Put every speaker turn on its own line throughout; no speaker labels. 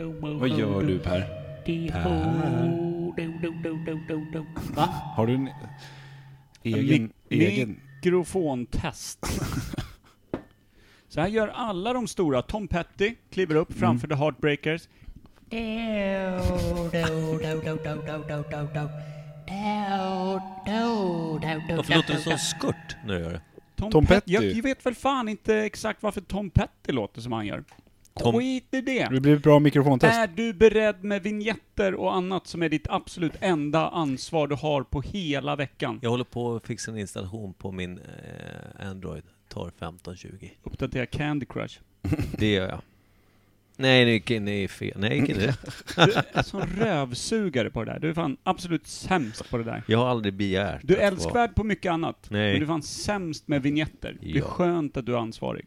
gör du Per?
Va?
Har du en egen...
Mi-
egen.
Mikrofontest. Så här gör alla de stora. Tom Petty kliver
Mm.
upp framför The Heartbreakers.
Varför låter det som skurt när du gör det?
Tom,
Tom
Petty.
Petty.
Jag vet väl fan inte exakt varför Tom Petty låter som han gör.
Tom-
Skit i det.
Det blir ett bra mikrofontest.
Är du beredd med vignetter och annat som är ditt absolut enda ansvar du har på hela veckan?
Jag håller på att fixa en installation på min eh, Android. Tar 15-20.
Uppdatera Candy Crush.
Det gör jag. Nej, nu gick jag in i fel. Nej, gick in i rätt.
Du är en sån rövsugare på det där. Du är fan absolut sämst på det där.
Jag har aldrig begärt
Du
att
är
vara-
älskvärd på mycket annat,
Nej.
men du är fan sämst med vignetter. Det är
Ja. Mm.
skönt att du är ansvarig.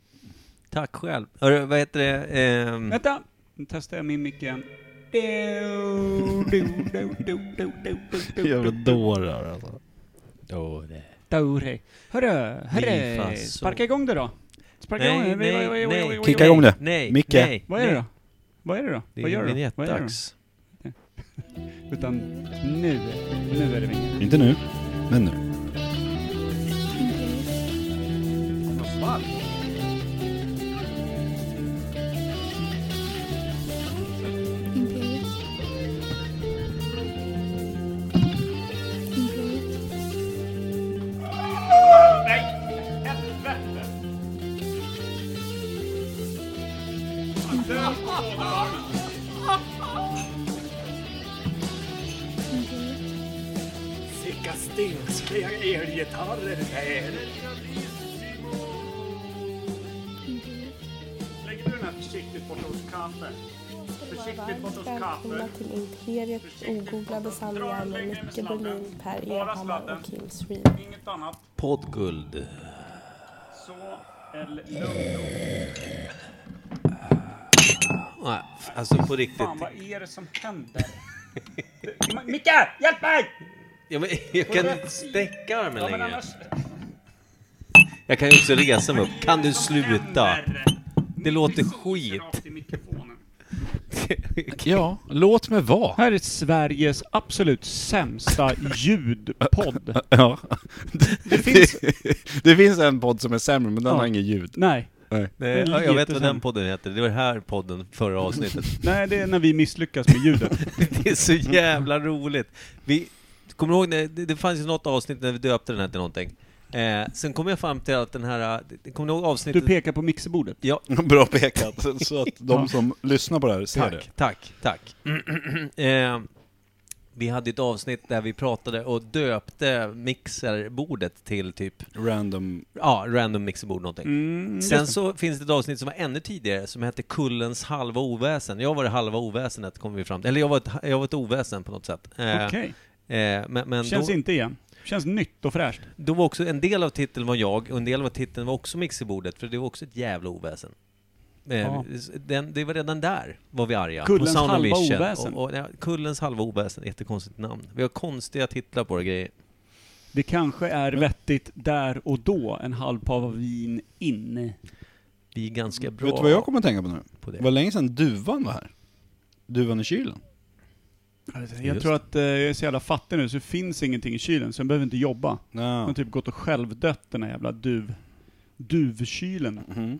Tack själv. Hörru, vad heter det? Ehm,
Vänta! Nu testar jag min mick igen. Do, do, do, do, do, do, do, do,
Äh, Jävla
do.
dårar alltså.
Dore. Hörru,
Ni
hörru!
fan så.
Sparka igång det då! Sparka
Nej,
igång det. Oj, oj,
nej,
oj, oj, oj,
nej.
oj.
Kicka igång det.
Nej,
Micke.
nej.
Vad är
nej.
det då? Vad är det då?
Det
Vad
är
gör du då? Vad gör du då?
vignettdags.
Utan nu, nu är det vingar.
Inte nu, men nu.
Vilka stingsliga elgitarrer det här Lägger du den här försiktigt bort hos kaffe?
Varmt välkomna till Imperiet ogooglade sanningar med Micke Berlin, Per Evhammar och Kim Sreed.
Inget annat.
Poddguld.
Så, eller lugn.
Nej, alltså på riktigt.
Fan, vad är det som händer? Micke, hjälp mig!
Ja, men, jag kan inte
rätt
sträcka armen
Ja, men
längre.
annars...
Jag kan ju också resa mig upp. Kan du sluta? Det låter skit.
Ja, låt mig vara.
Här är Sveriges absolut sämsta ljudpodd.
Ja.
Det finns...
Det finns en podd som är sämre, men den
Ja.
har inget ljud.
Nej.
Nej.
Nej,
Det
ja, jag vet vad
jättesam-
den podden heter. Det var den här podden förra avsnittet.
Nej, det är när vi misslyckas med ljudet.
Det är så jävla roligt. Vi, kommer du ihåg, när, det, det fanns ju något avsnitt när vi döpte den här till någonting. Eh, sen kom jag fram till att den här, eh, kommer du ihåg
Du
avsnittet?
pekar på mixerbordet.
ja,
Bra pekat, så att de som lyssnar på det här ser det.
tack, tack, tack. eh, vi hade ett avsnitt där vi pratade och döpte mixerbordet till typ,
Random.
ja, random mixerbord någonting.
Mm,
Sen så finns det ett avsnitt som var ännu tidigare som hette Kullens halva oväsen. Jag var det halva oväsenet, kom vi fram till. Eller jag var ett, jag var ett oväsen på något sätt. Eh,
Okej.
eh, men, men
Känns
då,
inte igen. Känns nytt och fräscht.
då var också, en del av titeln var jag och en del av titeln var också mixerbordet, för det var också ett jävla oväsen. Eh,
Ja.
den, det var redan där var vi arga.
Kullens
Sound of
halva
Vision.
oväsen.
Och, och, ja, Kullens halva oväsen, jättekonstigt namn. Vi har konstiga titlar på våra grejer.
Det kanske är vettigt där och då, en halv pava vin in.
Vi är ganska bra
Vet du vad jag kommer att tänka på nu?
på det.
Det var länge sedan duvan var här. Duvan i kylen.
Jag
Just
tror att eh, jag är så jävla fattig nu så det finns ingenting i kylen så jag behöver inte jobba. Jag har
Ja.
typ gått och självdött den här jävla duv, duvkylen.
Mhm.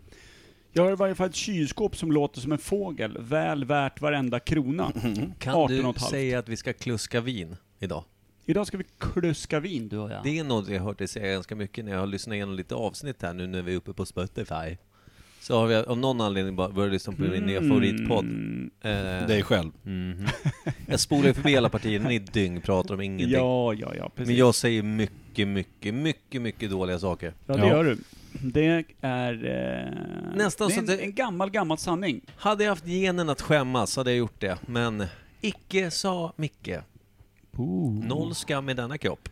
Jag har i varje fall ett kylskåp som låter som en fågel, väl värt varenda krona.
Mm.
Kan
18 och
du
ett halvt.
säga att vi ska kluska vin idag?
Idag ska vi kluska vin du och jag.
Det är något jag har hört dig säga ganska mycket när jag har lyssnat igenom lite avsnitt här nu när vi är uppe på Spotify. Så har vi av någon anledning bara börjat lyssna på din
Mm.
nya favoritpodd. Eh,
Dig själv.
mhm. Jag spolar ju förbi alla partier, ni dyngpratar om ingenting.
Ja, ja, ja, precis.
Men jag säger mycket, mycket, mycket, mycket dåliga saker.
Ja, det
Ja.
gör du. Det är... Eh,
Nästan
det är
så
en,
att det-
en gammal, gammal sanning.
Hade jag haft genen att skämmas hade jag gjort det, men icke sa Micke. Noll skam i denna kropp.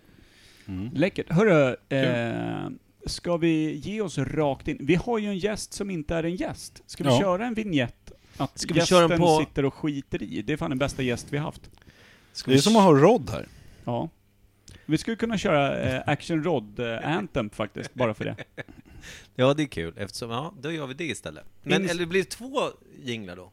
Mm.
Läckert. Hörru, eh, ska vi ge oss rakt in? Vi har ju en gäst som inte är en gäst. Ska vi
Ja.
köra en vignett? Att
Ska vi
gästen
köra den på-
sitter och skiter i. Det är fan den bästa gäst vi haft.
Ska
Det är
vi-
som att ha Rod här.
Ja. Vi skulle kunna köra eh, Action Rod eh, Anthem faktiskt, bara för det.
Ja, det är kul eftersom, ja, då gör vi det istället. Men,
Ins-
eller blir det två jinglar då?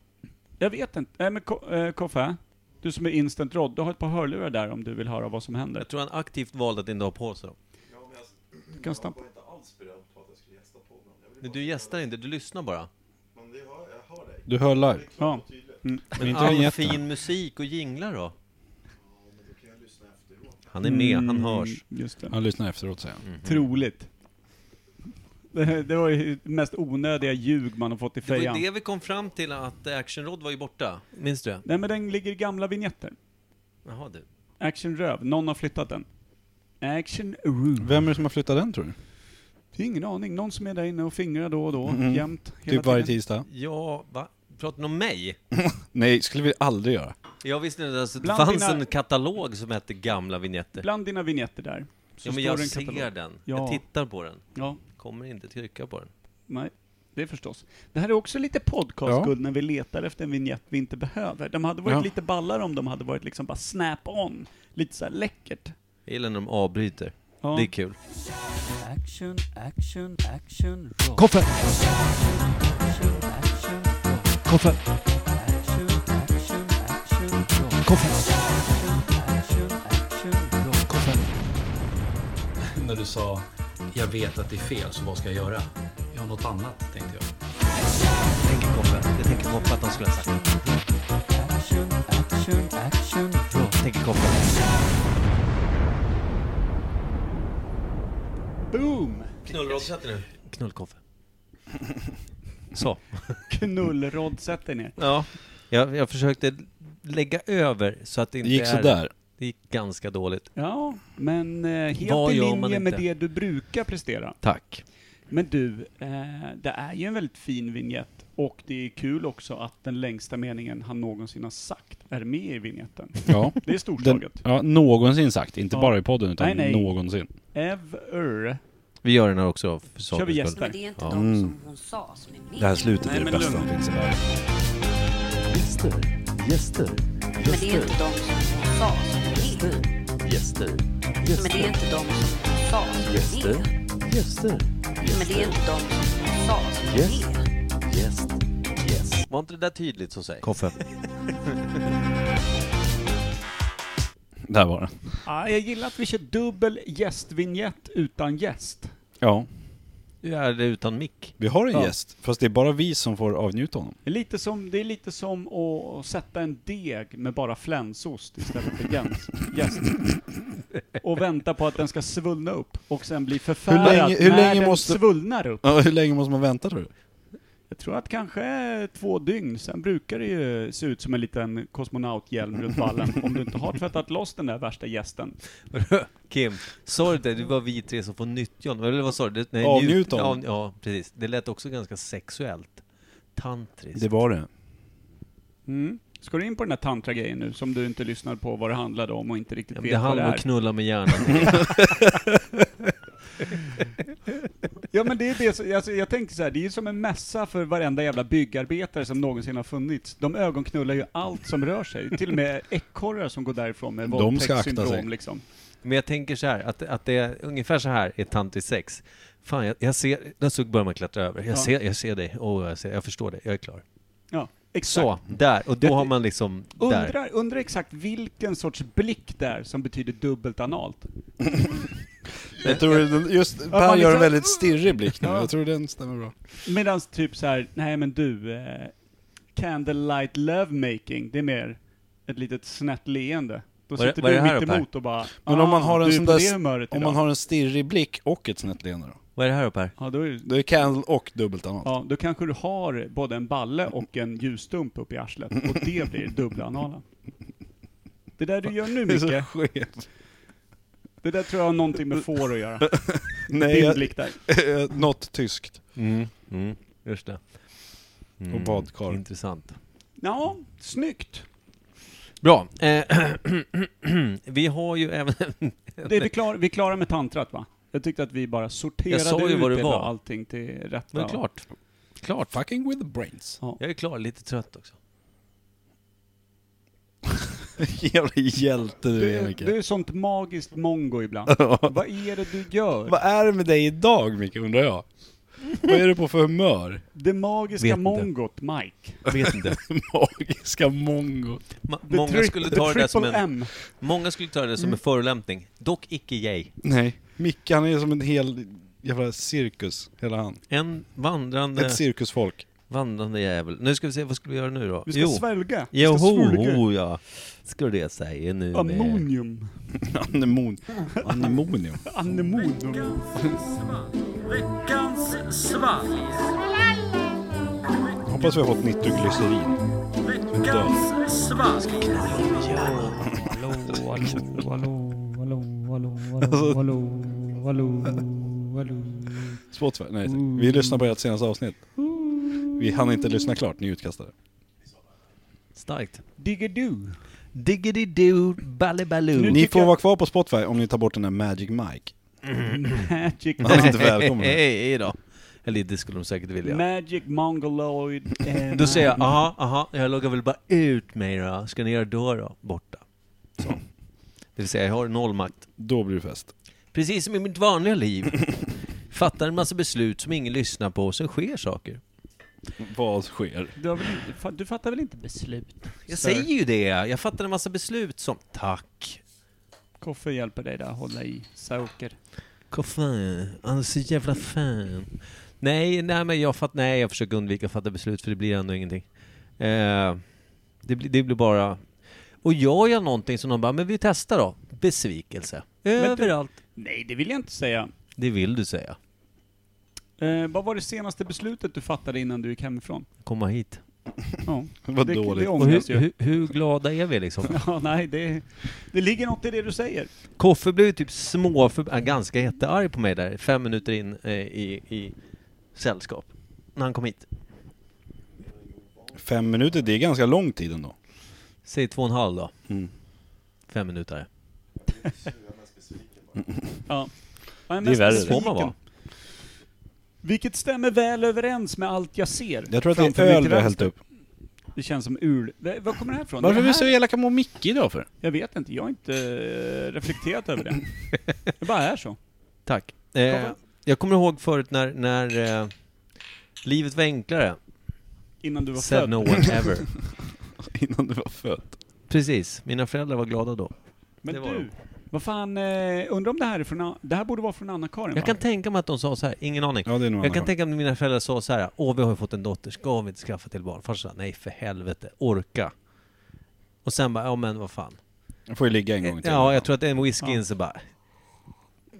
Jag vet inte. Äh, men Ko- eh, Koffe, du som är instant rod, du har ett par hörlurar där om du vill höra vad som händer.
Jag tror han aktivt valde att inte ha på sig dem.
Du kan stampa.
inte alls beredd på att jag skulle gästa podden. Jag vill
Nej, Du gästar inte, du lyssnar bara.
bara, men det hör, jag hör dig.
Du hör live.
Ja.
Tydligt.
Men
Men
inte
all
vignetten.
fin musik och jinglar då?
Då kan jag lyssna efteråt.
Han är med, han
Mm,
hörs. Mhm.
Just det.
Han lyssnar efteråt säger han.
Troligt. Det, det var ju det mest onödiga ljug man har fått i
Det var
fejan.
ju det vi kom fram till att Action Rod var ju borta. Minns du det?
Nej men den ligger i gamla vignetter.
Jaha du.
Action Röv, någon har flyttat den. Action Röv.
Vem är det som har flyttat den tror du?
Det är ingen aning, någon som är där inne och fingrar då och då, jämt. hela
Typ varje
tiden.
tisdag?
Ja, va? Pratar ni om mig?
Nej, skulle vi aldrig göra.
Jag visste inte ens att det
Bland
fanns
dina-
en katalog som hette Gamla Vignetter.
Bland dina vignetter där. så
Ja men
står
jag
det en
ser
katalog.
den.
Ja.
Jag tittar på den.
Ja,
Kommer inte trycka på den.
nej. Det är förstås. Det här är också lite podcastguld när vi letar efter en vignett vi inte behöver. De hade varit
Ja.
lite ballare om de hade varit liksom bara snap-on. Lite så här läckert.
Jag gillar när de avbryter.
Ja.
Det är kul.
Action, action, action, rock.
Koffe!
Action, action, rock.
Koffe!
Action, action, action, rock.
Koffe!
Action, action, rock.
när du sa jag vet att det är fel, så vad ska jag göra? Jag har något annat, tänkte jag.
Jag tänker Koffe. Jag tänker Koffe att de skulle ha sagt.
Action, action, action, rock.
Jag tänker Koffe.
Boom!
Knullrad, sätt dig nu. Knullkoffe. Så.
Knullrodd, sätt dig ner.
Ja. Jag, jag försökte lägga över så att det
Det
inte
gick
är...
sådär.
Det gick ganska dåligt.
Ja, men eh, helt
Vad
i
gör man
linje med
inte?
det du brukar prestera.
Tack.
Men du, eh, det är ju en väldigt fin vignett och det är kul också att den längsta meningen han någonsin har sagt är med i vignetten.
Ja.
Det är
Den,
storslaget.
ja, någonsin sagt. Inte
Ja.
bara i podden utan
Nej, nej.
någonsin.
Ever.
Vi gör den här också. För
Kör vi
sakens
gäster?
skull.
Men det är inte de som hon sa som är med.
slutet är det bästa som finns i världen.
Gäster, gäster,
Men det är
gäster,
inte de som hon sa som är med.
gäster,
Men det
gäster,
är inte de som hon sa som är
gäster,
med.
gäster,
Men det är inte de som hon sa som är med.
gäst, gäst.
Var inte det där tydligt så säg? Koffe.
Där var den.
Ah, jag gillar att vi kör dubbel gästvinjett utan gäst.
Ja.
Du är det utan mick.
Vi har en
Ja.
gäst, fast det är bara vi som får avnjuta honom.
Det är lite som, det är lite som att sätta en deg med bara flänsost istället för jäns- gäst. Och vänta på att den ska svullna upp och sen bli förfärad
Hur länge- hur
när
länge
den
måste-
svullnar upp.
Ja, hur länge måste man vänta tror du?
Jag tror att kanske två dygn, sen brukar det ju se ut som en liten kosmonauthjälm runt ballen om du inte har tvättat loss den där värsta gästen.
Kim, sorry det, det var vi tre som får nyttja honom. Eller vad sa du? Nej,
Avnjuta
njut-
honom.
av- Ja, precis. Det lät också ganska sexuellt. Tantriskt.
Det var det.
Mm. Ska du in på den där tantra-grejen nu, som du inte lyssnar på vad det handlade om och inte riktigt
Ja, men
vet
det
vad det
handlar om
är?
att knulla med hjärnan.
Ja men det är det, som- alltså, jag tänker så här, det är ju som en mässa för varenda jävla byggarbetare som någonsin har funnits. De ögonknullar ju allt som rör sig, till och med ekorrar som går därifrån med
De ska akta sig.
våldtäktssyndrom liksom.
Men jag tänker så här, att, att det är ungefär så här är tantriskt sex. Fan, jag, jag ser, där så börjar man klättra över. Jag,
Ja.
ser, jag ser dig, oh, jag, ser, jag förstår dig, jag är klar.
Ja, exakt.
Så, där, och då
Det-
har man liksom, där.
Undrar, undrar exakt vilken sorts blick det är som betyder dubbelt analt.
Jag tror den- just Per
man
gör en
liksom-
väldigt stirrig blick nu.
Ja.
Jag tror den stämmer bra.
Medan typ så här, nej men du, eh, candlelight lovemaking, det är mer ett litet snett leende. Då
Vad är-
sitter
vad är
du
det här då,
mittemot och bara,
Men om man har
"Ah,
en
du är
sån
på
där
det
s-
humöret
Om
idag."
man har en stirrig blick och ett snett leende då?
Vad är det här då Per?
Ja, då är det
Då är candle och dubbelt annat.
Ja, då kanske du har både en balle och en ljusstump upp i arslet och det blir dubbla analen. Det där du gör nu
Det är så
Micke,
skevt.
det där tror jag har någonting med får att göra.
Nej,
Din
jag, eh,
blick där.
något tyskt.
Mm, mm, just det. Mm,
Och badkar.
Intressant.
Ja, snyggt.
Bra. Eh, vi har ju även...
Det är vi, klar, vi är klara med tantrat va? Jag tyckte att vi bara sorterade
Jag sa ju
ut
vad det
det
var.
och allting till rätta.
Men klart. Klart.
Fucking with the brains.
Jag är klar, lite trött också.
Jävla hjälte du är
Du,
Micke.
du är sånt magiskt mongo ibland. Vad är det du gör?
Vad är det med dig idag Micke undrar jag? Vad är du på för humör?
Det magiska
Vet inte.
mongot Mike.
Vet inte.
Magiska mongot.
Ma-
The
många,
tri-
skulle
the
ta det där som
triple
en,
M. Mm.
många skulle ta det där som en förolämpning. Dock icke jag.
Nej, Micke han är som en hel jävla cirkus, hela han.
En vandrande,
Ett cirkusfolk.
vandrande jävel. Nu ska vi se, vad ska vi göra nu då?
Vi ska svälga. Vi ska svälga.
Joho, ja. Ska det säga nu med...
Ammonium.
Anemon. Anemonium.
Anemonium.
Veckans svalg.
Hoppas vi har fått nitroglycerin.
Veckans svalg.
Hallå, hallå, hallå, hallå, hallå, hallå, hallå, hallå, hallå.
Spotify? Nej,
Mm.
vi lyssnar på ert senaste avsnitt. Vi hann inte lyssna klart, ni är utkastade.
Starkt.
Diggidoo.
Diggididoo, ballybaloo.
Ni får vara kvar på Spotify om ni tar bort den där Magic Mike.
Magic,
Han är inte välkommen.
Hej då. Eller det skulle de säkert vilja.
Magic Mongoloid. eh,
Då säger jag, aha, aha, jag loggar väl bara ut mig då. Ska ni göra då då? Borta. Så. Det vill säga, jag har noll makt.
Då blir det fest.
Precis som i mitt vanliga liv. Fattar en massa beslut som ingen lyssnar på, och sen sker saker.
Vad sker?
Du, har väl inte, fa- du fattar väl inte beslut?
Jag
Sir.
säger ju det. Jag fattar en massa beslut som, tack,
Koffe hjälper dig där, hålla i saker.
koffein, han är så jävla fan. Nej, nej men jag fattar, nej jag försöker undvika att fatta beslut för det blir ändå ingenting. Eh, det, blir, det blir bara... Och jag gör någonting som de bara, men vi testar då. Besvikelse.
du-
Överallt.
Nej, det vill jag inte säga.
Det vill du säga.
Eh, vad var det senaste beslutet du fattade innan du gick hemifrån?
Komma hit.
Ja,
Vad
det,
dåligt.
det
Och
ångras
hur,
ju.
hur, hur glada är vi liksom?
Ja, nej, det, det ligger något i det du säger.
Koffe blev ju typ små, för, äh, ganska jättearg på mig där, fem minuter in eh, i, i sällskap. När han kom hit.
Fem minuter, det är ganska lång tid ändå.
Säg två och en halv då.
Mm.
Fem minuter.
Ja.
Det
Jag
är
mest
värre.
Det får
besviken.
man vara.
Vilket stämmer väl överens med allt jag ser.
Jag tror att det
Framför
är
mig
öl
till
vi har
vänster.
hällt upp.
Det känns som ul. Det- Var kommer det här ifrån?
Varför är vi
det här?
så elaka mot Micke idag för?
Jag vet inte, jag har inte eh, reflekterat över det. Det bara är så.
Tack. Eh, jag kommer ihåg förut när, när eh, livet var enklare.
Innan du var
Said
född.
no one ever.
Innan du var född.
Precis. Mina föräldrar var glada då.
Men
Det var
du,
de.
vad fan, eh, undrar om det här är från, An- det här borde vara från Anna-Karin va?
Jag kan tänka mig att de sa så här. Ingen aning.
Ja, det är nog
Jag kan
annars.
tänka mig att mina föräldrar sa så här. Åh, vi har ju fått en dotter. Ska vi inte skaffa till barn? Farsan sa nej för helvete. Orka. Och sen bara, ja men vad fan.
Jag får ju ligga en gång till.
Ja, jag tror att en whisky in så bara...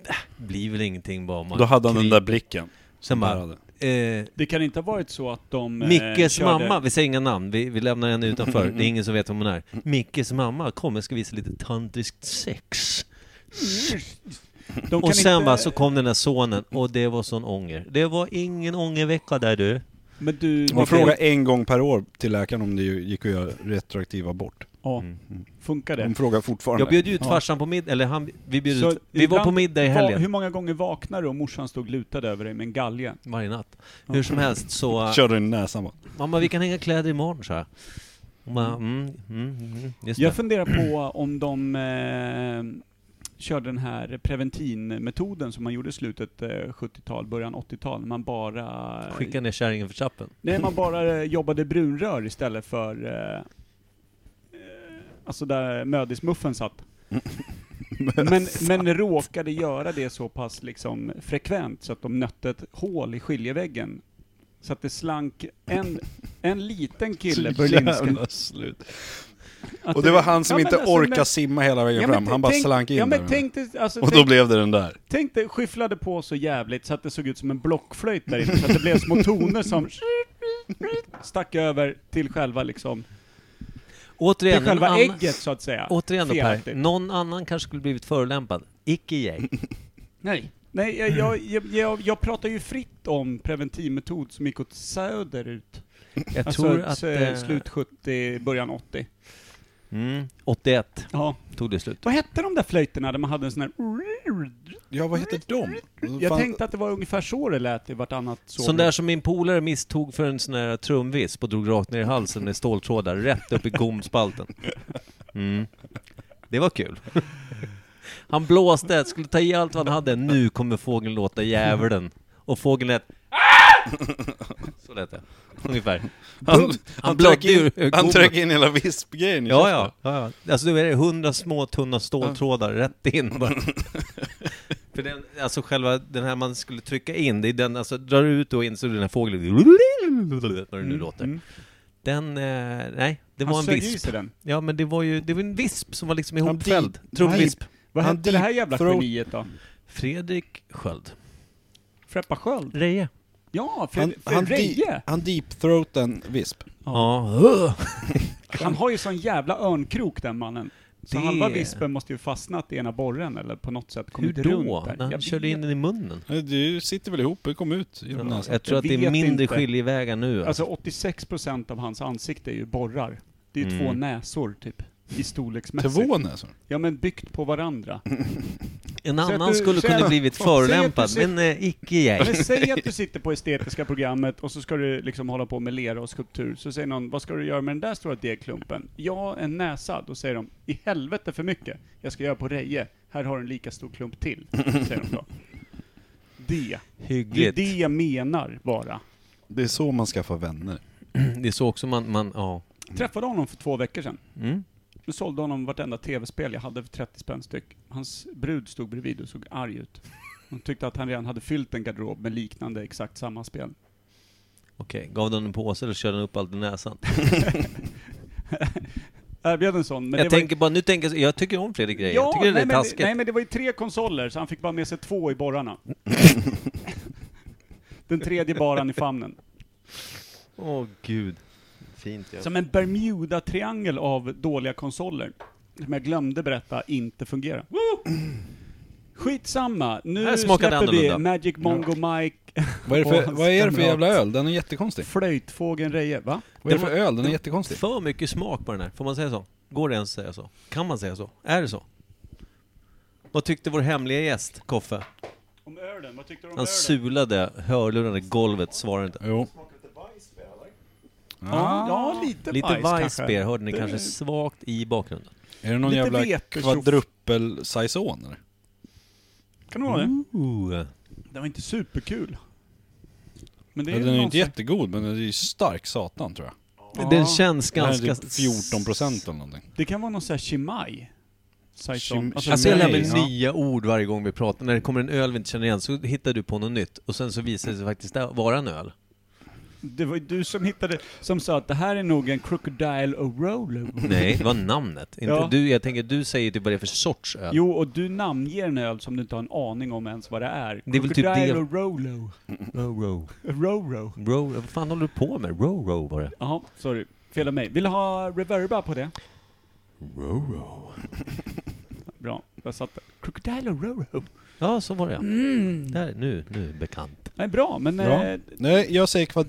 "Äh, Blir väl ingenting bara om man...
Då hade han den
krig-" Mm.
där blicken.
Sen
Där
bara...
hade.
Eh,
Det kan inte ha varit så att de... eh,
Mickes
körde-
mamma, vi säger inga namn, vi, vi lämnar henne utanför. Det är ingen som vet vem hon är. Mickes mamma kommer ska visa lite tantriskt sex.
De kan
Och sen
inte,
bara så kom den där sonen och det var sån ånger. Det var ingen ångervecka där du.
Men du...
Man
Mikael,
frågar en gång per år till läkaren om det ju gick att göra retroaktiv abort.
Ja, funkar
Mm.
det?
De frågar fortfarande.
Jag bjöd ut farsan på middag, eller han, vi bjöd
Så
ut, vi var
ibland-
på middag i
va- Hur
helgen.
många gånger vaknar du och morsan stod lutad över dig med en galge?
Varje natt. Hur som helst så... eh,
Körde den i näsan bara.
Mamma vi kan hänga kläder imorgon sa jag. Hon bara, mm, mm, mm, just det.
Jag funderar på om de eh, körde den här preventinmetoden som man gjorde i slutet eh, 70-tal, början 80-tal, när man bara...
Skicka ner kärringen för trappen.
Nej, man bara eh, jobbade brunrör istället för... Eh, eh, alltså där mödismuffen satt. Men, men råkade göra det så pass liksom frekvent så att de nötte ett hål i skiljeväggen. Så att det slank en, en liten kille,
Så
Berlinska.
jävla slut.
att
Och det var han som
Ja, men
inte
alltså,
orkade
men-
simma hela vägen fram.
men
Han bara
tänk-
slank in
ja, men
där.
tänk dig, alltså,
Och då
tänk,
blev det den där.
tänk dig, skyfflade på så jävligt så att det såg ut som en blockflöjt där inne, så att det blev små toner som stack över till själva liksom, till
Återigen,
själva
en annan-
ägget så att säga.
återigen då, Per,
Felaktigt.
någon annan kanske skulle blivit förolämpad. Icke jag.
Nej. Nej, jag, jag, jag, jag, jag pratar ju fritt om preventivmetod som gick åt söderut.
Jag
Alltså
tror att...
eh,
Eh,
slut 70, början 80.
Mm, 81
Ja.
tog det slut.
Vad hette de där flöjterna där man hade en sån här...
Ja, vad heter de?
Jag
Fan,
tänkte att det var ungefär så det lät i vartannat sovrum.
Sån där som min polare misstog för en sån här trumvisp och drog rakt ner i halsen med ståltrådar, rätt upp i gomspalten. Mm. Det var kul. Han blåste, skulle ta i allt vad han hade. Nu kommer fågeln låta djävulen. Och fågeln lät... "Ah!" Så lät det, ungefär.
Han, han,
blödde
tryckte
ur
in, han
gommen.
tryckte in hela vispgrejen i
Ja, ja,
käften.
ja, ja. Alltså du är det hundra små tunna ståltrådar rätt in bara. För den, alltså själva den här man skulle trycka in, det är den, alltså drar du ut och in så är det den här fågeln, när
Mm,
det nu låter. Den, eh, nej, det
Han
var en
sög i
visp.
sig den.
Ja, men det var ju, det var en visp som var liksom
Han
ihopfälld.
deep-
Trumvisp.
deep-
Vad
han
hette det här
deep
jävla
throat-
geniet då?
Fredrik Sköld.
Freppa Sköld?
Reje.
Ja, för,
Han,
för
han,
Reje!
deep, han deepthroat en visp.
Ja.
Han har ju sån jävla örnkrok den mannen. Så
Det-
halva vispen måste ju fastnat i ena borren eller på något sätt
Hur
kommit
då?
runt där.
När han
Jag
körde
vet
in den i munnen?
Nej, Du sitter väl ihop? Det kom ut genom
Ja,
näsan.
jag tror att det är
Alltså, vet
mindre
inte.
skiljevägar nu.
Alltså 86% av hans ansikte är ju borrar. Det är ju två
Mm.
näsor typ, i storleksmässigt.
Två näsor.
Ja men byggt på varandra.
En
Säg att
annan
du-
skulle
säg att-
kunna blivit
säg att du
förolämpad,
ser-
men eh, icke jag.
Men säg att du sitter på estetiska programmet och så ska du liksom hålla på med lera och skulptur, så säger någon vad ska du göra med den där stora degklumpen? Ja, en näsa. Då säger de i helvete för mycket. Jag ska göra på Reje. Här har du en lika stor klump till, säger de då. Det. Det är
Hyggligt.
det jag menar bara.
Det är så man skaffar vänner.
Det är så också man, man ja.
Träffade honom för två veckor sedan.
Mm.
Jag sålde honom vartenda tv-spel jag hade för 30 spänn styck. Hans brud stod bredvid och såg arg ut. Hon tyckte att han redan hade fyllt en garderob med liknande exakt samma spel.
Okej, gav den en påse eller körde den upp allt i näsan?
Erbjöd en sån, men
jag
det var
tänker bara, nu tänker jag, så- jag tycker om Fredrik Grejer. jag
Ja,
tycker det
nej,
är
men,
taskigt.
nej men det var ju tre konsoler, så han fick bara med sig två i borrarna. Den tredje bar han i famnen.
Åh gud. Fint ja.
Som en Bermuda-triangel av dåliga konsoler. Som jag glömde berätta inte fungerar. Woo! Skitsamma, nu
Här smakar det
släpper vi
annorlunda.
Magic Mongo Mike,
Vad är det
Och
för,
hans
vad är det för
kamrat.
jävla öl? Den är jättekonstig.
Flöjtfågeln Reje, va?
Vad är det
Den
för öl? Den är jättekonstig.
För mycket smak på den här, får man säga så? Går det ens att säga så? Kan man säga så? Är det så? Vad tyckte vår hemliga gäst, Koffe?
Om ölen, vad tyckte du om ölen?
Han sulade hörlurarna i golvet, svarade inte.
Jo.
Ja, ja, lite,
Lite
bajs
Weissbier
kanske.
hörde ni
Det-
kanske svagt i bakgrunden.
Är det någon
Lite
jävla
vetetjoff.
kvadruppel saison eller?
Kan det vara
Mm.
det?
Ooh.
Det var inte superkul. Men det
Ja,
är
Den är ju inte
någonstans-
jättegod men den är ju stark satan tror jag.
Den känns
Den här
ganska...
är typ 14 procent eller någonting.
Det kan vara någon sån här Chimay. Saison.
Chim-
Alltså jag lär mig
Nej, ja.
nya ord varje gång vi pratar. När det kommer en öl vi inte känner igen så hittar du på något nytt och sen så visar det sig faktiskt där- vara en öl.
Det var ju du som hittade, som sa att det här är nog en Crocodile O'Rolo.
Nej, det var namnet. Inte
Ja.
du, jag tänker, du säger typ vad det är för sorts öl.
Jo, och du namnger en öl som du inte har en aning om ens vad det är.
Det är väl typ
Crocodile
det-
O'Rolo.
Row, row.
Roro.
Row, vad fan håller du på med? Row, row var det.
Jaha, sorry. Fel av mig. Vill du ha reverba på det? Roro. Bra, jag satte. Crocodile O'Rolo.
Ja, så var det ja. Där, nu, nu bekant.
Nej, bra, men...
Bra.
eh,
Nej, jag säger kvad,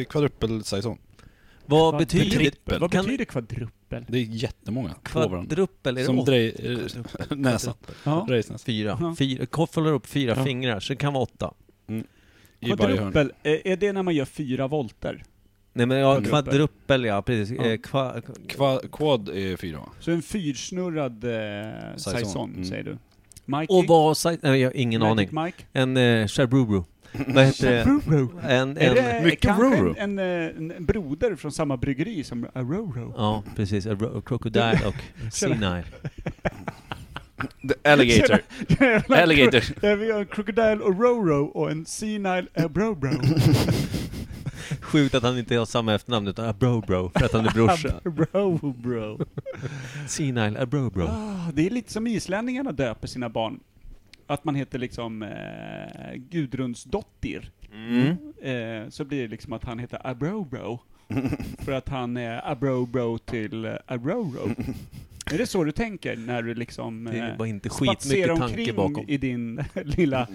eh, kvadruppel saison.
Vad
Vad
betyder
betyder-
Trippel.
Vad
Kan-
betyder kvadruppel?
Det är jättemånga på varandra.
Kvadruppel, är det
Som
åtta?
drej, eh, näsan.
Ja.
Drejsnäs.
Fyra.
Ja.
fyra. Koff håller upp fyra
Ja.
fingrar, så det kan vara åtta.
I varje hörn.
Kvadruppel, eh, är det när man gör fyra volter?
Nej men ja,
Kvadruppel.
kvadruppel ja, precis.
Ja.
Eh, kva,
Kva, quad är fyra va?
Så en fyrsnurrad eh, saison,
Mm.
säger du? Mikey?
och vad sa- Nej, jag har ingen aning.
Magic Mike?
En eh, Charbrubru. Vad heter det? En,
Är
en,
det
Mycket
kanske
Roro.
En, en, eh, en broder från samma bryggeri som eh, Aroro?
Ja, precis. A ro- Crocodile och senile.
Alligator. Alligator.
Ja, vi har en Crocodile Ororo och en Senile eh, Abrobro.
Sjukt att han inte har samma efternamn utan Abrobro, för att han är brorsa.
Abrobro.
Senile Abrobro.
Ah, det är lite som islänningarna döper sina barn. Att man heter liksom eh, Gudrunsdottir.
Mm.
Eh, så blir det liksom att han heter Abrobro. För att han är Abrobro till eh, Abroro. Är det så du tänker när du liksom...
Det
eh,
var inte
spatserar
skitmycket tanke
omkring
bakom. Mm.
i din lilla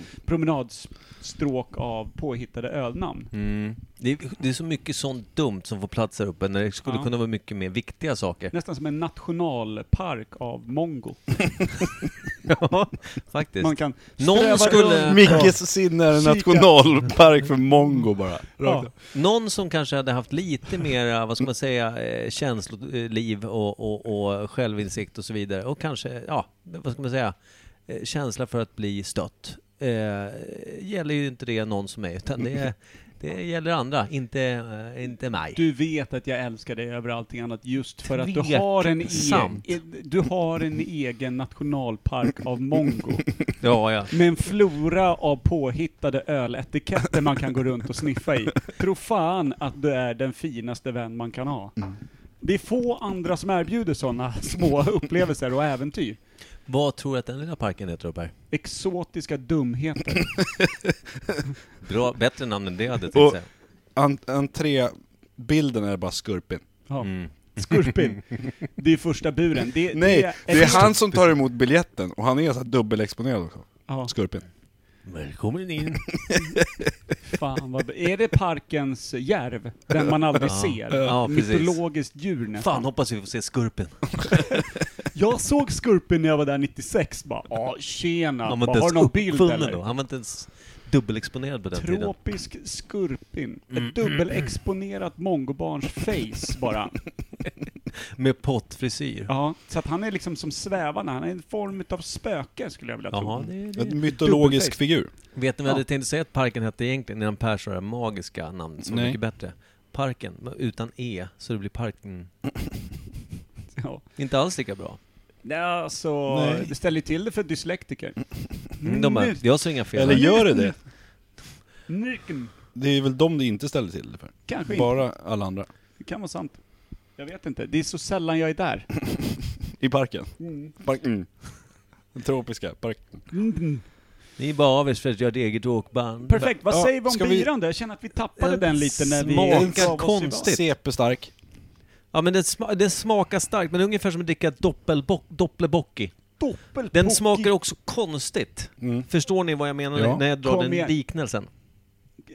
promenadstråk av påhittade ölnamn.
Mm. Det, är, det är så mycket sånt dumt som får plats här uppe, när det skulle
Ja.
kunna vara mycket mer viktiga saker.
Nästan som en nationalpark av mongo.
Ja, faktiskt.
Man kan
Någon
ströva
skulle-
runt.
Mickes sinne är en
Kika.
nationalpark för mongo bara.
Ja.
Någon som kanske hade haft lite mera, vad ska man säga, eh, känsloliv och, och, och självinsikt och så vidare. Och kanske, ja, vad ska man säga, eh, känsla för att bli stött. Eh, gäller ju inte det någon som är, utan det är, Det gäller andra, inte, eh, inte mig.
Du vet att jag älskar dig över allting annat just för att du
Tveksamt.
har en, e- du har en egen nationalpark av mongo.
Ja, ja.
Med en flora av påhittade öletiketter man kan gå runt och sniffa i. Tro fan att du är den finaste vän man kan ha.
Mm.
Det är få andra som erbjuder sådana små upplevelser och äventyr.
Vad tror du att den lilla parken heter, Per?
Exotiska dumheter.
Bra, bättre namn än det hade jag tänkt
Och
säga.
en, entrébilden är bara Skurpin.
Ja.
Mm.
Skurpin. Det är första buren. Det,
Nej,
det
det är han som tar emot biljetten och han är så här dubbelexponerad också.
Ja.
Skurpin.
Välkommen in.
Fan vad... Är det parkens järv? Den man aldrig ser?
Ja, precis.
Mytologiskt djur nästan.
Fan, hoppas vi får se Skurpen.
Jag såg Skurpin när jag var där 96 bara, ja tjena,
Han var
bara,
inte
har
ens
du någon bild
uppfunnen
eller?
då. Han var inte ens dubbelexponerad på den tiden.
Tropisk Skurpin. Ett dubbelexponerat mongobarns face bara.
Med pottfrisyr.
Ja, så att han är liksom som svävarna, han är en form av spöke skulle jag vilja tro.
Jaha, det,
En
det.
mytologisk
Dubbelface.
figur.
Vet ni vad
Ja.
jag hade tänkt säga att parken hette egentligen innan Per sa det magiska namnet som var
Nej.
mycket bättre? Parken, men utan E, så det blir parken.
Ja.
Inte alls lika bra.
Nej, alltså,
Nej.
det ställer ju till det för dyslektiker.
Mm, De bara,
Nu-
jag sa inga fel.
Eller
här."
gör det det?
Nyken.
Det är väl de det inte ställer till det för.
Kanske inte.
Bara alla andra.
Det kan vara sant. Jag vet inte. Det är så sällan jag är där.
I parken. Mm. Parken. Den tropiska parken.
Ni är bara avis för att göra ett eget åkband.
Perfekt. Vad
Ja,
säger vi om
ska vi-
birande? Jag känner att vi tappade
Den
den lite när vi...
smakar
gav oss idag.
konstigt.
CP-stark.
Ja men den, sma- den smakar starkt, men det är ungefär som att dricka doppelbock, dopplebocki.
Doppelpocky.
Den smakar också konstigt. Förstår ni vad jag menar
Mm. Ja.
när jag drar
Kom
den
igen.
liknelsen?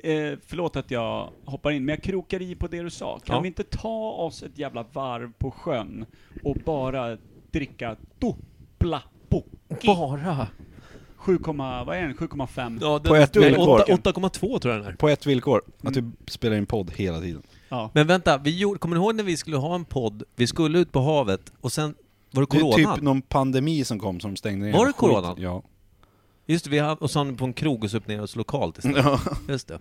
Eh, förlåt att jag hoppar in, men jag krokar i på det du sa. Kan
Ja.
vi inte ta oss ett jävla varv på sjön och bara dricka doppla bo-
Bara?
7, vad är den? 7,5?
Ja, den,
På ett
den-
villkor.
åtta- 8,2 tror jag den är.
På ett villkor, att vi spelar in podd hela tiden.
Ja.
Men vänta, vi gjorde, kommer ni ihåg när vi skulle ha en podd? Vi skulle ut på havet och sen var det
Det är
corona.
typ någon pandemi som kom som stängde ner.
Var det
skit.
coronan?
Ja.
Just det, vi har, och så hamnade vi på en krog och upp ner oss lokalt istället. Just det.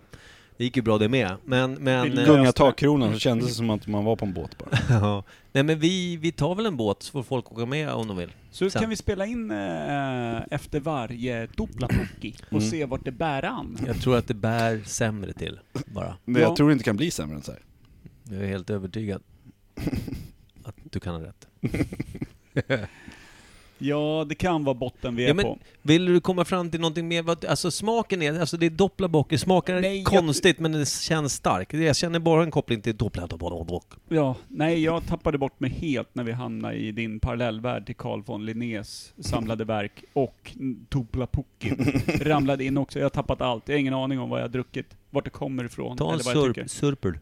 Det gick ju bra det med. Men, men,
Vill-
eh,
Gunga takkronan så kändes det som att man var på en båt bara.
ja. Nej, men vi, vi tar väl en båt så får folk åka med om de vill.
Så
Sen.
kan vi spela in eh, efter varje doppla pocky och
Mm.
se vart det bär an.
Jag tror att det bär sämre till bara.
Men
Ja.
jag tror det inte kan bli sämre än så här.
Jag är helt övertygad att du kan ha rätt.
Ja, det kan vara botten vi är
Ja, men,
på.
vill du komma fram till någonting mer? Vad- Alltså smaken är, alltså det är doppelbock, det smakar
Nej, jag-
konstigt men det känns starkt. Jag känner bara en koppling till doppelbock.
Ja, nej, jag tappade bort mig helt när vi hamnade i din parallellvärld till Carl von Linnés samlade verk och Tupla Puckin. Ramlade in också. Jag har tappat allt. Jag har ingen aning om vad jag har druckit, vart det kommer ifrån
Ta en
eller vad jag
surp,
tycker.
surpel.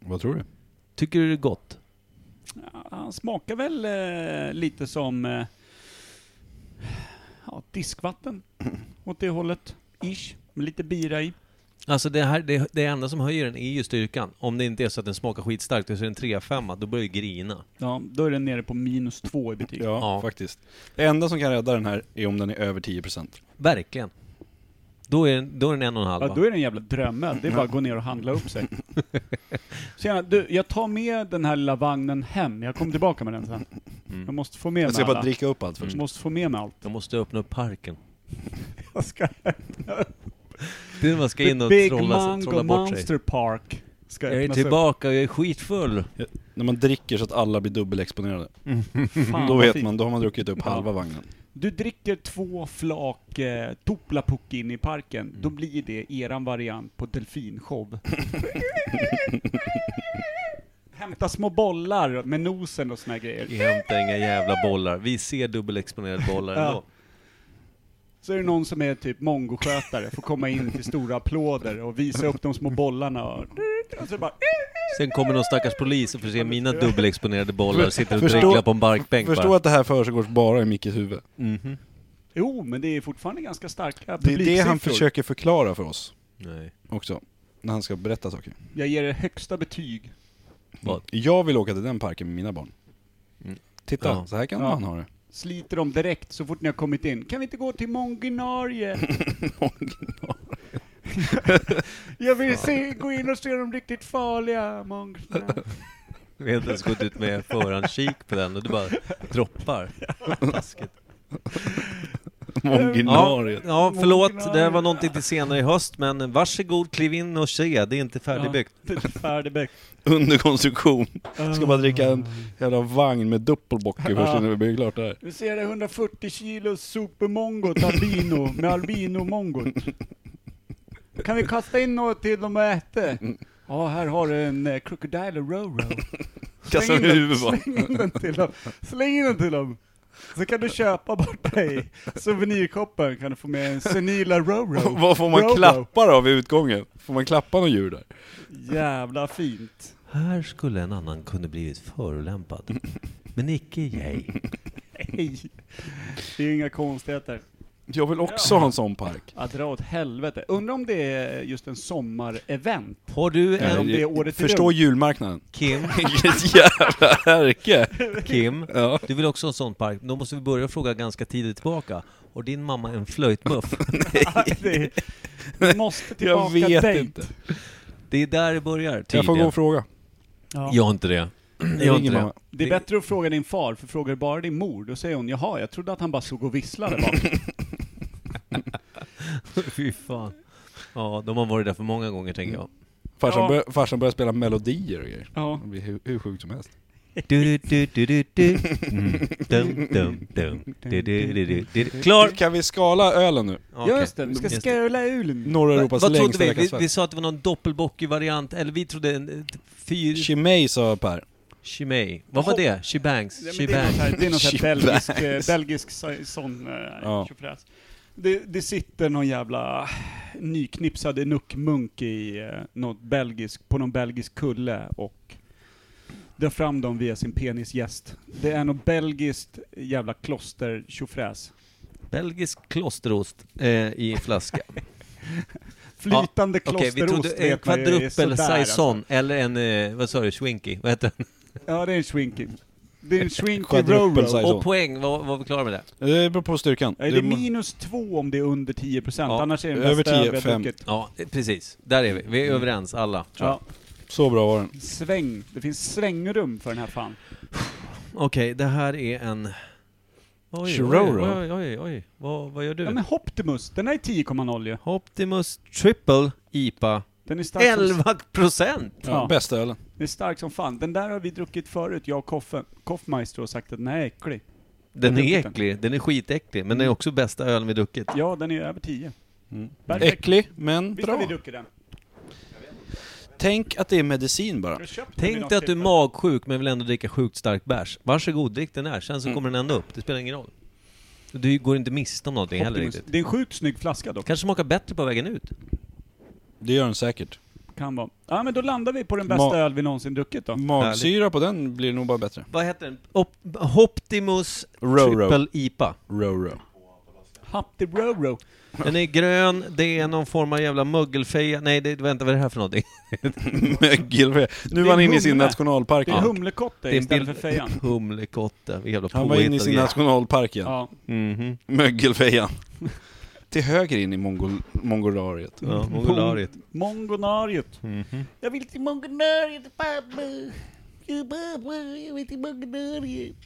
Vad tror du?
Tycker du det är gott?
Ja, Han smakar väl eh, lite som eh, ja, diskvatten åt det hållet. Ish. Med lite bira i.
Alltså det här, det, det enda som höjer den är ju styrkan. Om det inte är så att den smakar skitstarkt och så är den 3-5, då börjar jag grina.
Ja, då är den nere på minus två i betyg.
Ja,
Ja.
faktiskt. Det enda som kan rädda den här är om den är över 10%.
Verkligen. Då är den, då är den en och en halv.
Ja,
va?
då är det en jävla drömöl. Det är bara att gå ner och handla upp sig. Tjena, du, jag tar med den här lilla vagnen hem. Jag kommer tillbaka med den sen.
Mm.
Jag måste få med
Jag
mig
ska bara
alla.
dricka upp allt först.
Jag måste få med mig allt.
Jag måste öppna upp parken.
Jag ska
Det är när man ska in och
Big
trolla, trolla
Mango
bort sig.
Monster Park. Ska
Jag är
öppnas
tillbaka och jag är skitfull.
Ja, När man dricker så att alla blir dubbelexponerade.
upp. Fan,
Då
vad
vet
fint.
man, då har man druckit upp
Ja.
halva vagnen.
Du dricker två flak eh, Toplapuck in i parken.
Mm.
Då blir det eran variant på delfinshow. Hämta små bollar med nosen och såna här grejer.
Vi hämtar inga jävla bollar. Vi ser dubbelexponerade bollar
Ja.
ändå.
Så är det någon som är typ mongoskötare, får komma in till stora applåder och visa upp de små bollarna och, och så bara
Sen kommer någon stackars polis och får se mina dubbelexponerade bollar och sitter och
Förstå-
dreglar på en barkbänk
Förstå
bara.
att det här försiggår bara i Mickes huvud.
Jo, men det är fortfarande ganska starka
Det är det han
publiksiffror.
försöker förklara för oss
Nej.
också. När han ska berätta saker.
Jag ger det högsta betyg.
Vad?
Jag vill åka till den parken med mina barn. Titta,
Ja.
så här kan
Ja.
man ha det.
sliter de direkt så fort ni har kommit in. Kan vi inte gå till Monginarie? Jag vill se, gå in och se de riktigt farliga mongrerna.
Vi har inte ens gått ut med förhandskik på den och du bara droppar. Taskigt.
Monginariet.
Ja, ja, förlåt. Det var någonting till senare i höst, men varsågod, kliv in och se. Det är inte färdigbyggt.
Ja, det är Färdigbyggt.
Under konstruktion. Ska bara dricka en jävla vagn med dubbelbocker först innan vi bygger klart det här.
Vi ser det 140 kilo supermongot albino med albinomongot. Kan vi kasta in något till dem att äta? Ja, här har du en eh, Crocodile Roro.
Kasta
in
med
den-
huvudet bara.
Släng in den till dem. Släng in den till dem. Så kan du köpa bort dig souvenirkoppen, kan du få med en senila Roro.
Vad får man
Roro.
klappa då vid utgången? Får man klappa något djur där?
Jävla fint.
Här skulle en annan kunna blivit förolämpad. Men icke jag.
Hej. Det är ju inga konstigheter.
Jag vill också ha en sån park.
Att dra åt helvete. Undrar om det är just en sommarevent?
Har du
Eller om
en
det är året
Förstå
runt.
julmarknaden.
Kim?
Vilket jävla härke!
Kim?
Ja.
Du vill också ha en sån park? Då måste vi börja fråga ganska tidigt tillbaka. Har din mamma en flöjtmuff?
Nej, det är- Vi måste
Jag
tillbaka
vet
dejt.
inte.
Det är där det börjar,
Jag får gå
tydligen.
och fråga.
Jag har inte det. Jag har inte
ringer
det.
mamma.
Det är bättre att fråga din far, för frågar du bara din mor, då säger hon jaha, jag trodde att han bara såg och visslade bara.
Fy fan. Ja, de har varit där för många gånger, tänker jag.
Farsan,
Ja.
börjar, farsan börjar spela melodier och grejer.
Ja.
Det blir hur, hur sjukt som helst.
Du, du, du, du, du. Mm. Dum, dum, dum. Du, du, du, du, du. Klar!
Kan vi skala ölen nu?
Okej.
Just det, vi ska
Just
skåla ulen.
Norra
Va-
Europas
Vad
längsta
trodde vi? vi? Vi
veckasvärt.
sa att det var någon doppelbockig-variant, eller vi trodde en eh, fyr...
Chimay sa Per.
Chimay. Vad var det? Chibangs?
Nej, men Det är något här-
Chibangs?
det är något här
Shebang.
belgisk, eh, belgisk sa- sån eh,
Ja.
tjofräs. Det, det sitter någon jävla nyknipsad enuckmunk i eh, något belgisk, på någon belgisk kulle och drar fram dem via sin penisgäst. Det är något belgiskt jävla kloster tjofräs.
Belgisk klosterost eh, i en flaska.
Flytande
Okej, vi
klosterost
trodde en
vet man ju är
kvadruppel
sådär, alltså.
saison, eller en, eh, vad sa du, schwinky? Vad heter den?
Ja, det är en swinkig. Det är en swinkig
Quadruple
roro.
size.
Och poäng, var, var vi klara med det?
Det beror på styrkan.
Nej, det är minus två om det är under 10%,
Ja,
annars är det den
över
bästa
10,
öl vi har
fem.
druckit.
Ja, eh, precis. Där är vi. Vi är
Mm.
överens, alla. tror jag.
Ja,
Så bra var den.
sväng. Det finns svängrum för den här fan.
Okej, det här är en... Oj, oj, oj,
Chiroro.
oj, oj, oj. Vad, vad gör du?
Ja men Hoptimus, den här är 10,0 ju.
Optimus Triple IPA.
Den är stark, som,
11 procent!
Ja,
Ja.
Bästa ölen.
den är stark som fan. Den där har vi druckit förut, jag och Koffe, Koffmeister har sagt att den här är äcklig.
Den är
druckit den.
äcklig, den är skitäcklig, men den är också bästa ölen vi druckit.
Ja, den är över 10. Perfekt.
Äcklig, men
Visst har vi
bra.
druckit den?
Tänk att det är medicin bara.
Jag köpte den vid
Tänk
något
dig att du är
tillfälle.
magsjuk men vill ändå dricka sjukt stark bärs. Varsågod, drick den här, sen
Mm.
så kommer den ändå upp. Det spelar ingen roll. Du går inte miste om någonting heller
Optimus.
riktigt.
Det är en sjukt snygg flaska dock.
Kanske smakar bättre på vägen ut.
Det gör den säkert.
Kan vara. Ja men då landar vi på den bästa
Ma-
öl vi någonsin druckit då.
Magsyra på den blir nog bara bättre.
Vad heter den? Op- Optimus
Roro.
Triple IPA.
Roro.
Hapti Roro.
Den är grön, det är någon form av jävla mögelfeja. Nej, det, vänta, vad är det här för någonting?
Mögelve. Nu
är
var han inne i sin
humle.
nationalpark
Det är
igen.
humlekotte
Det är en
istället
bild Mm.
för fejan.
humlekotte. Jävla
Han var inne i
påhittad
sin
grej.
nationalpark igen.
Ja.
Mhm.
Mögelfejan. Till höger in i mongol- mongolariet.
Ja, mongolariet.
Mongonariet.
Mm-hmm.
Jag vill till Mongonariet, pappa. Ja, pappa, Jag vill till Mongonariet.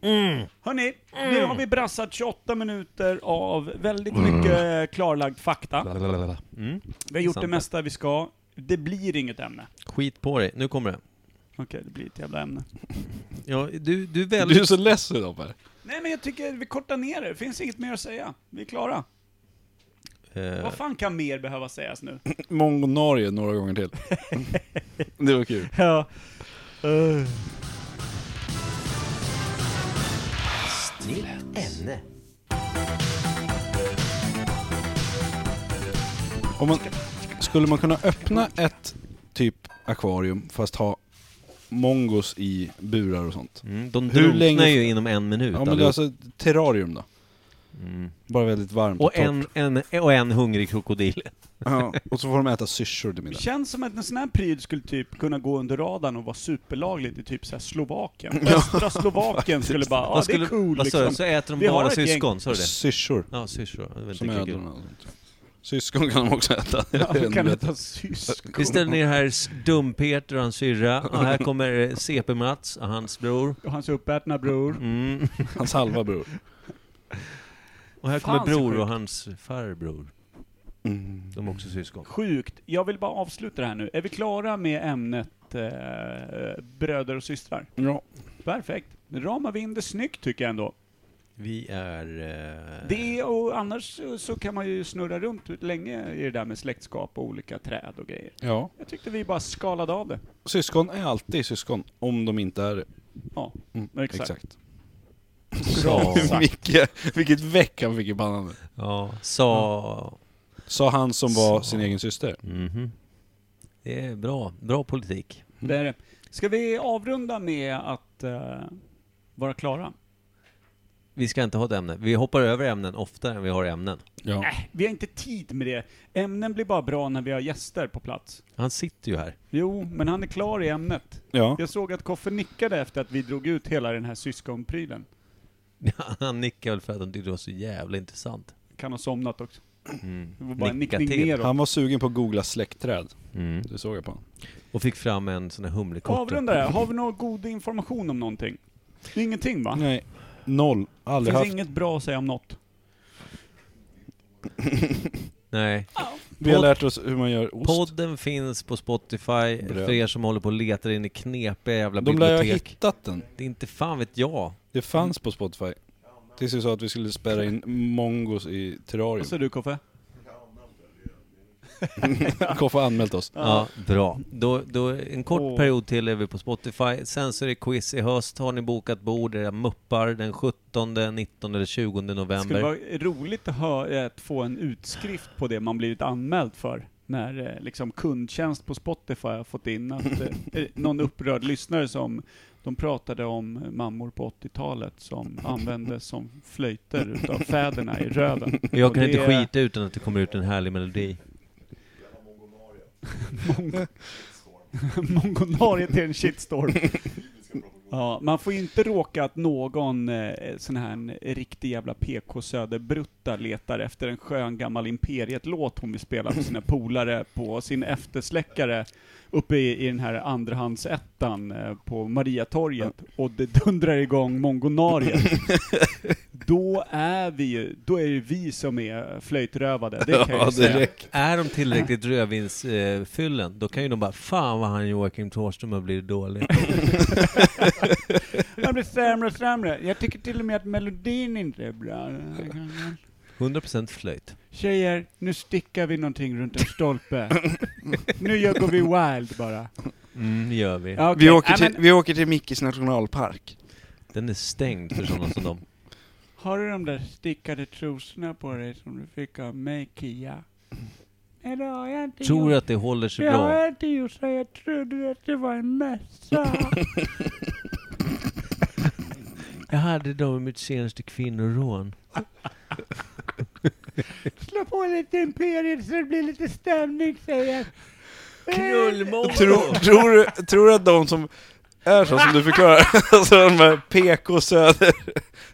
Mm.
Hörni, nu har vi brassat 28 minuter av väldigt mycket eh, klarlagd fakta.
Mm.
Vi har gjort
Sant
det
det.
mesta vi ska. Det blir inget ämne.
Skit på dig, nu kommer det.
Okej, det blir ett jävla ämne.
Ja, du, du är
Du är
väldigt...
så less idag Per.
Nej men jag tycker vi kortar ner det. Det finns inget mer att säga. Vi är klara.
Eh,
Vad fan kan mer behöva sägas nu?
Mongonarie några gånger till. Det var kul.
Ja.
Ämne.
Om man, skulle man kunna öppna ett typ akvarium fast ha mongos i burar och sånt?
mm, de
Hur
drunknar
länge-
ju inom en minut
Ja men det är
allihop.
alltså terrarium då. Bara väldigt varmt
Och en, en, och en hungrig krokodil.
Ja, och så får de äta syrsor till middag.
Känns som att en sån här pryd skulle typ kunna gå under radarn och vara superlagligt i typ så här Slovakien.
Ja,
Östra Slovakien skulle bara, ja
Vad
det
skulle-
är cool
vad sa du?
liksom.
Så äter de
Vi har
bara
ett gäng-
syskon, sa du det?
Syrsor.
Ja, syrsor. Det var
Som
inte kul.
ödlorna och sånt. Syskon kan de också äta. Det är
Ja, de
ännu
kan
bättre.
äta syskon.
Vi ställer ner här s- Dum-Peter och hans syrra. Och här kommer eh, CP-Mats och hans bror.
Och hans uppätna bror.
Mm.
Hans halva bror.
Och här
Fan,
kommer
så
bror och
sjukt.
hans farbror. De är också syskon.
Sjukt. Jag vill bara avsluta det här nu. Är vi klara med ämnet eh, bröder och systrar?
Ja.
Perfekt. Ramar vi in det snyggt tycker jag ändå.
Vi är... Eh...
Det och annars så- så kan man ju snurra runt länge i det där med släktskap och olika träd och grejer.
Ja.
Jag tyckte vi bara skalade av det.
Syskon är alltid syskon, om de inte är det.
Ja,
Mm,
exakt.
Sa...
Micke, vilket väck han fick i pannan nu.
Ja, sa...
Sa han som var
Så.
sin egen syster.
Mhm. Det är bra. Bra politik.
Det är det. Ska vi avrunda med att eh, vara klara?
Vi ska inte ha ett ämne. Vi hoppar över ämnen oftare än vi har ämnen.
Ja.
Äh, vi har inte tid med det. Ämnen blir bara bra när vi har gäster på plats.
Han sitter ju här.
Jo, men han är klar i ämnet.
ja.
Jag såg att Koffe nickade efter att vi drog ut hela den här syskonprylen.
Han nickar väl för att han tyckte det var så jävla intressant.
Kan ha somnat också.
Mm.
Det var bara en
Nicka
nickning
till.
neråt.
Han var sugen på att googla släktträd.
Mm.
Det såg jag på honom.
Och fick fram en sån här humlekotte.
Avrunda det. här. Har vi någon god information om någonting? Det är ingenting va?
Nej. Noll.
Det
Aldrig
Ah. finns
haft.
inget bra att säga om något.
Nej.
Vi har
Podd-
lärt oss hur man gör ost.
Podden finns på Spotify
Bröd.
för er som håller på och letar in i knepiga jävla
De lär ju ha
bibliotek.
hittat den.
Det är inte fan vet jag.
Det fanns på Spotify. Tills vi sa att vi skulle spärra in mongos i terrarium.
Vad säger du Koffe?
Koffe har anmält oss.
Ja, bra. Då, då en kort
Åh.
period till är vi på Spotify. Sen så är det quiz i höst. Har ni bokat bord? Era muppar den 17, 19 eller 20
Det skulle
november.
vara roligt att, hö- eh, att få en utskrift på det man blivit anmäld för. När eh, liksom kundtjänst på Spotify har fått in att eh, eh, någon upprörd lyssnare som de pratade om eh, mammor på 80-talet som användes som flöjter utav fäderna i röven.
Jag
Och
kan
det
inte
är
skita utan att det kommer ut en härlig melodi.
Mongonarie till en shitstorm. Ja, man får inte råka att någon eh, sån här en riktig jävla PK Söderbrutta letar efter en skön gammal Imperiet-låt hon vill spela för sina polare på sin eftersläckare uppe i, i den här andrahandsettan eh, på Mariatorget och det dundrar igång Mongonariet. Då är vi ju, då är det vi som är flöjtrövade, det kan jag
Ja,
ju säga.
direkt.
Är de tillräckligt rödvinsfyllen, då kan ju de bara Fan vad han Joakim Thåström har blivit dålig.
Han blir sämre och sämre. Jag tycker till och med att melodin inte är bra.
100% flöjt.
Tjejer, nu stickar vi någonting runt en stolpe. Nu gör, går vi wild bara.
Mm, gör vi.
Ja, okej.
Vi, åker
Ja,
till,
men,
vi åker till Mickes nationalpark.
Den är stängd för sådana som dem.
Har du de där stickade trosorna på dig som du fick av mig, Kia? Nej, det har jag inte
Tror
gjort.
du att det håller sig
Det har
bra?
jag inte gjort, så jag trodde att det var en mössa.
Jag hade dem i mitt senaste kvinnorån.
Slå på lite Imperiet så det blir lite stämning, säger jag.
Tror, tror, du- tror du att de som är så som du förklarar, alltså de här PK söder,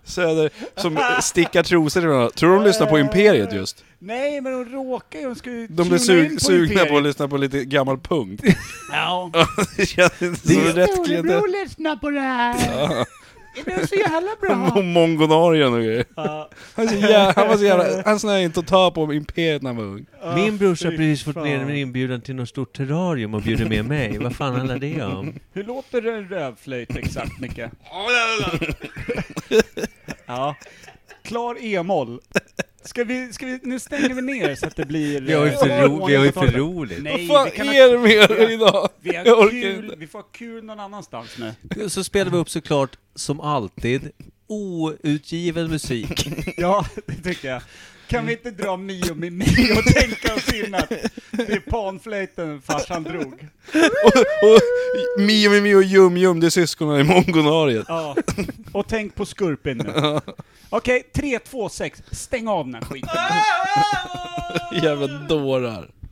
söder som stickar trosor till varandra, tror du de lyssnar på Imperiet just?
Nej, men de råkar ju. De ska ju
De blir
tuna in
sug, sugna på
Imperiet.
att lyssna på lite gammal punk.
Ja.
det känns inte som rätt klientell.
Storebror lyssnar på det här. Det är så jävla
Mo-
bra.
Mongonarien och grejer. Han, är så jävla, han var så jävla, han snöade inte att ta på Imperiet när han var ung.
Min brorsa har
Ah, fy
precis fått
fan.
ner en inbjudan till något stort terrarium och bjuder med mig. Vad fan handlar det om?
Hur låter en rövflöjt exakt, Micke? ja. Klar e-moll. Ska vi, ska vi, nu stänger vi ner så att det blir...
Vi har ju
eh,
för, ro, vi har ju för
ordning på
roligt.
talet.
Vad
Nej,
fan
vi kan
är det med er idag?
vi
Jag
har
orkar
kul,
inte.
vi får ha kul någon annanstans nu.
Så spelar vi upp såklart, som alltid, outgiven musik.
Ja, det tycker jag. Kan vi inte dra
Mm.
Mio med Mio och tänka oss in att det är panflöjten farsan drog?
Och, och Mio Mio och Jum Jum, det är syskonen i mongonariet.
Ja. Och tänk på skurpen nu. Okej, 3, 2, 6. Stäng av den här skiten.
Jävla dårar.